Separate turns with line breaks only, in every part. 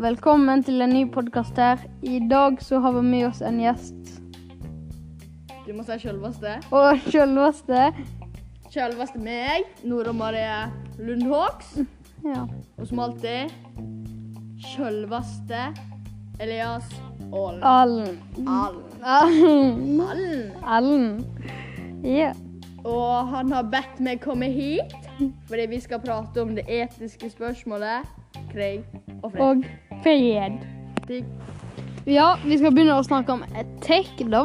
Velkommen til en ny podkast her. I dag så har vi med oss en gjest.
Du må si sjølveste.
Og sjølveste
Sjølveste meg, Nora Marie Lundhågs.
ja.
Og som alltid sjølveste Elias Aalen.
Allen.
Aalen.
Allen.
Aalen.
Allen. Ja.
Og han har bedt meg komme hit fordi vi skal prate om det etiske spørsmålet krig og fred.
Og fred.
Ting.
Ja, vi skal begynne å snakke om etikk, da.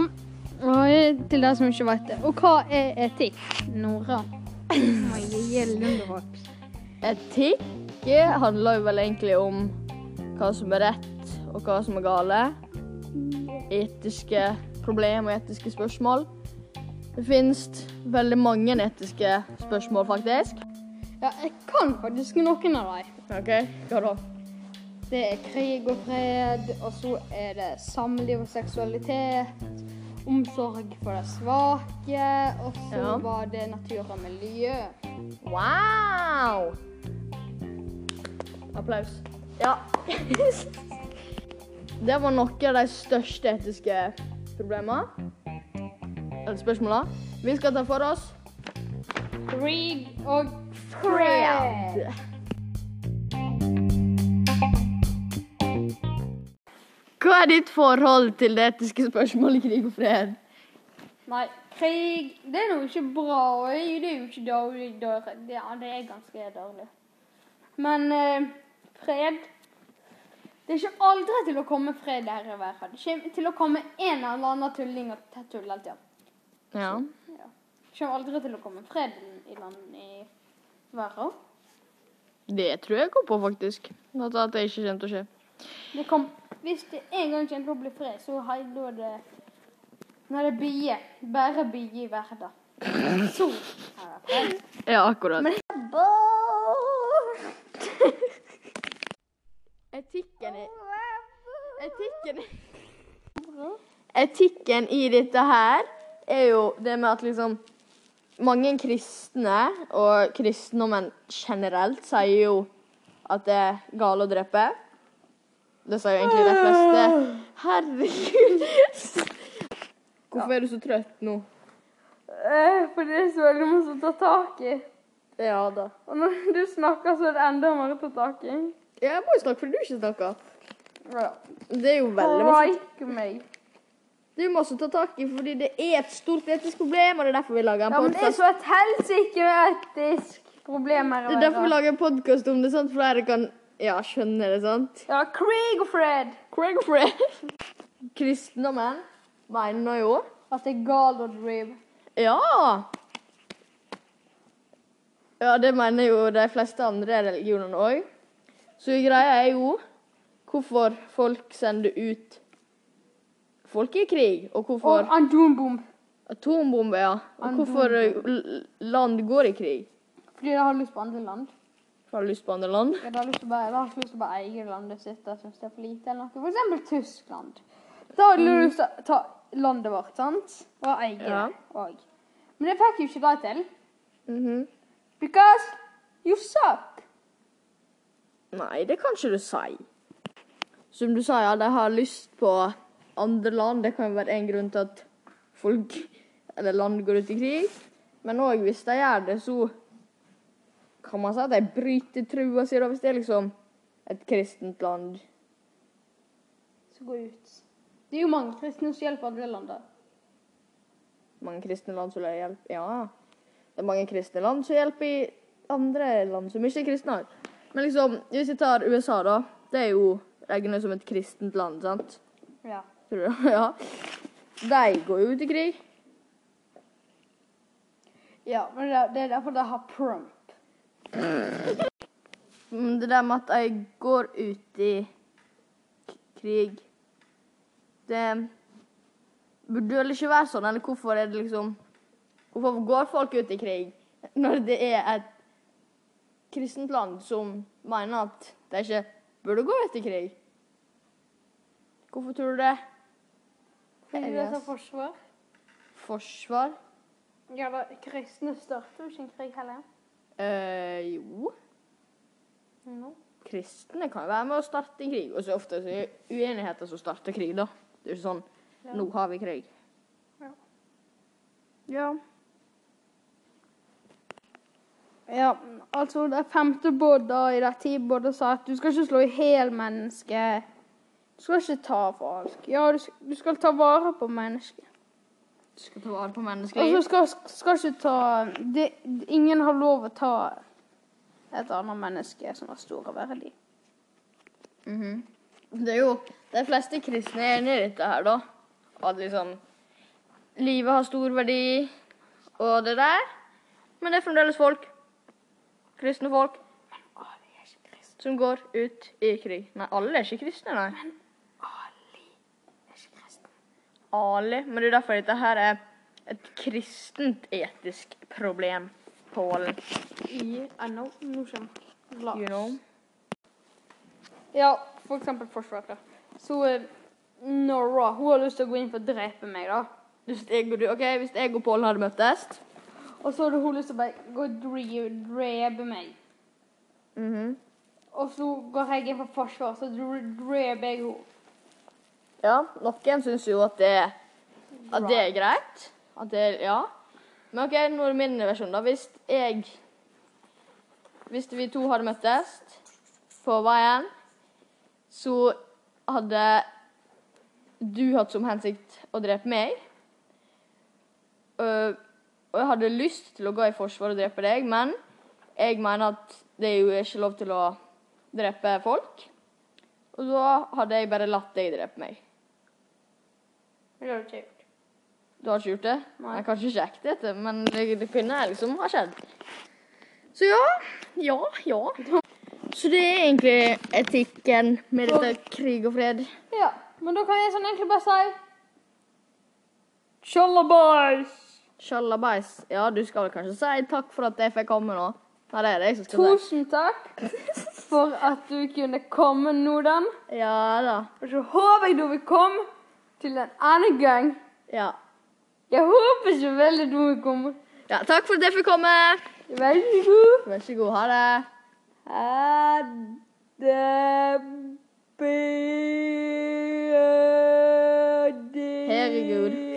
Og til dere som ikke vet det. Og hva er etikk, Nora?
Etikk handler jo vel egentlig om hva som er rett og hva som er gale. Etiske problem og etiske spørsmål. Det finnes veldig mange etiske spørsmål, faktisk.
Ja, jeg kan faktisk noen av dem.
OK, hva da?
Det er krig og fred, og så er det samliv og seksualitet. Omsorg for de svake, og så
Ja.
var det natur og miljø.
Wow! Applaus. Ja. Det var noen av de største etiske problemene. Eller spørsmåla. Vi skal ta for oss
Krig og fred.
fred. Hva er ditt forhold til det etiske spørsmålet krig og fred?
Nei, krig det er jo ikke bra. og Det er jo ikke dårlig. dårlig. Det, ja, det er ganske dårlig. Men eh, fred Det er ikke aldri til å komme fred her i verden. Det kommer til å komme en eller annen tulling og tett tull hele tida.
Ja.
Ja. Kommer aldri til å komme fred i land i verden.
Det tror jeg går på, faktisk. At at det ikke kommer til å skje.
Det kom, hvis det en gang kommer til å bli fred, så har jeg da det Når det er bier. Bare bier i verden. Så er det fred.
Ja, akkurat. Etikken i Etikken i Etikken i dette her er jo det med at liksom Mange kristne, og kristendommen generelt, sier jo at det er gale å drepe. Det sier jo egentlig de fleste. Herregud. Hvorfor er du så trøtt nå?
Eh, For det er så veldig mye å ta tak i.
Ja da.
Og når du snakker, så er det enda mer å ta tak i.
Jeg må jo snakke fordi du ikke snakker.
Ja.
Det er jo veldig masse
Like meg.
Du må også ta tak i, fordi det er et stort etisk problem, og det er derfor vi lager en
Ja, men det er
podcast.
så et helsike etisk problem her. i
Det er derfor vi
verden.
lager en podcast om det, sant? For dere kan ja, skjønne det, sant?
Ja, krig og fred.
Craig Fred. Kristendommen mener jo
At det er galt å drive.
Ja! Ja, det mener jo de fleste andre religionene òg. Så greia er jo hvorfor folk sender ut folk i krig, og hvorfor
Og atombom.
Atombombe, ja. Og hvorfor eh, l- land går i krig?
Fordi de har lyst på andre land.
Har du lyst på andre land?
Ja, De har lyst til å bare, de har ikke lyst til å bare eie landet sitt. De syns det er for lite eller noe. For eksempel Tyskland. Da hadde de lyst til å ta landet vårt, sant? Og eie det
Ja.
òg. Men det fikk jo ikke de til.
Mhm.
Because you suck.
Nei, det kan ikke du si. Som du sa, ja, de har lyst på andre land. Det kan jo være en grunn til at folk eller land går ut i krig. Men òg hvis de gjør det, så kan man si at de bryter trua si, da, hvis det er liksom et kristent land.
Så gå ut. Det er jo mange kristne som hjelper andre land. da.
Mange kristne land som hjelper Ja. Det er mange kristne land som hjelper i andre land som ikke er kristne. Men liksom, hvis vi tar USA, da. Det er jo regnet som et kristent land, sant?
Ja.
Tror du? Ja. De går jo ut i krig.
ja, men det er- det er derfor de har prom.
Men det der med at de går ut i k- krig Det burde vel ikke være sånn, eller hvorfor er det liksom Hvorfor går folk ut i krig når det er et kristent land som mener at de ikke burde gå ut i krig? Hvorfor tror du det?
Fordi de
Elias.
tar forsvar.
Forsvar?
Ja, da, kristne starter jo ikke en krig heller.
Eh, jo.
Mm.
Kristne kan jo være med å starte en krig. Og så ofte så er det uenigheter som starter krig, da. Det er jo ikke sånn
Ja.
Nå har vi krig.
Ja.
Ja.
Ja, altså det femte budet i det ti budet sa at du skal ikke slå i hjel mennesket. Du skal ikke ta folk. Ja, du, sk- du skal ta vare på mennesket.
Du skal ta vare på
Og så
menneskeliv.
skal, skal ikke ta det, Ingen har lov å ta et annet menneske som har stor verdi.
Mhm. Det er jo De fleste kristne er enig i dette her, da. At liksom Livet har stor verdi og det der. Men det er fremdeles folk. Kristne folk
Å, de er ikke kristne.
som går ut i krig. Nei, alle er ikke kristne, nei.
Ali er ikke kristen.
Ali. Men det er derfor dette her er et kristent etisk problem, Pålen.
I NO. Nå kommer Lars.
You know?
Ja, for eksempel forsvaret. Så eh, Nora, hun har lyst til å gå inn for å drepe meg, da.
Hvis jeg og du, ok, hvis jeg og Pålen hadde møttes
Og så hadde hun lyst til å bare gå og dre- drepe meg.
Mhm.
Og så går jeg inn for forsvaret, så dre- dreper jeg henne.
Ja, noen syns jo at det, at det er greit. At det er Ja. Men OK, nå er det min versjon, da. Hvis jeg Hvis vi to hadde møttes på veien, så hadde du hatt som hensikt å drepe meg. Øh, og jeg hadde lyst til å gå i forsvar og drepe deg, men jeg mener at det er jo ikke lov til å drepe folk. Og da hadde jeg bare latt deg drepe meg.
Det har du ikke gjort.
Du har ikke gjort det?
Nei.
Jeg kan ikke sjekke dette, men det, det kunne liksom ha skjedd. Så ja. Ja, ja. Så det er egentlig etikken med dette krig og fred.
Ja, men da kan jeg sånn egentlig bare si Tjallabais!
Sjalabais. Ja, du skal vel kanskje si takk for at jeg fikk komme nå. Nei, det er det jeg som skal si.
Tusen takk for at du kunne komme, Norden.
Ja da.
Og så håper jeg du vil komme til en annen gang.
Ja.
Jeg håper så veldig du vil komme.
ja. Takk for at jeg fikk komme.
Vær så god.
Vær så god. Ha det.
Ha det bedre.
Herregud.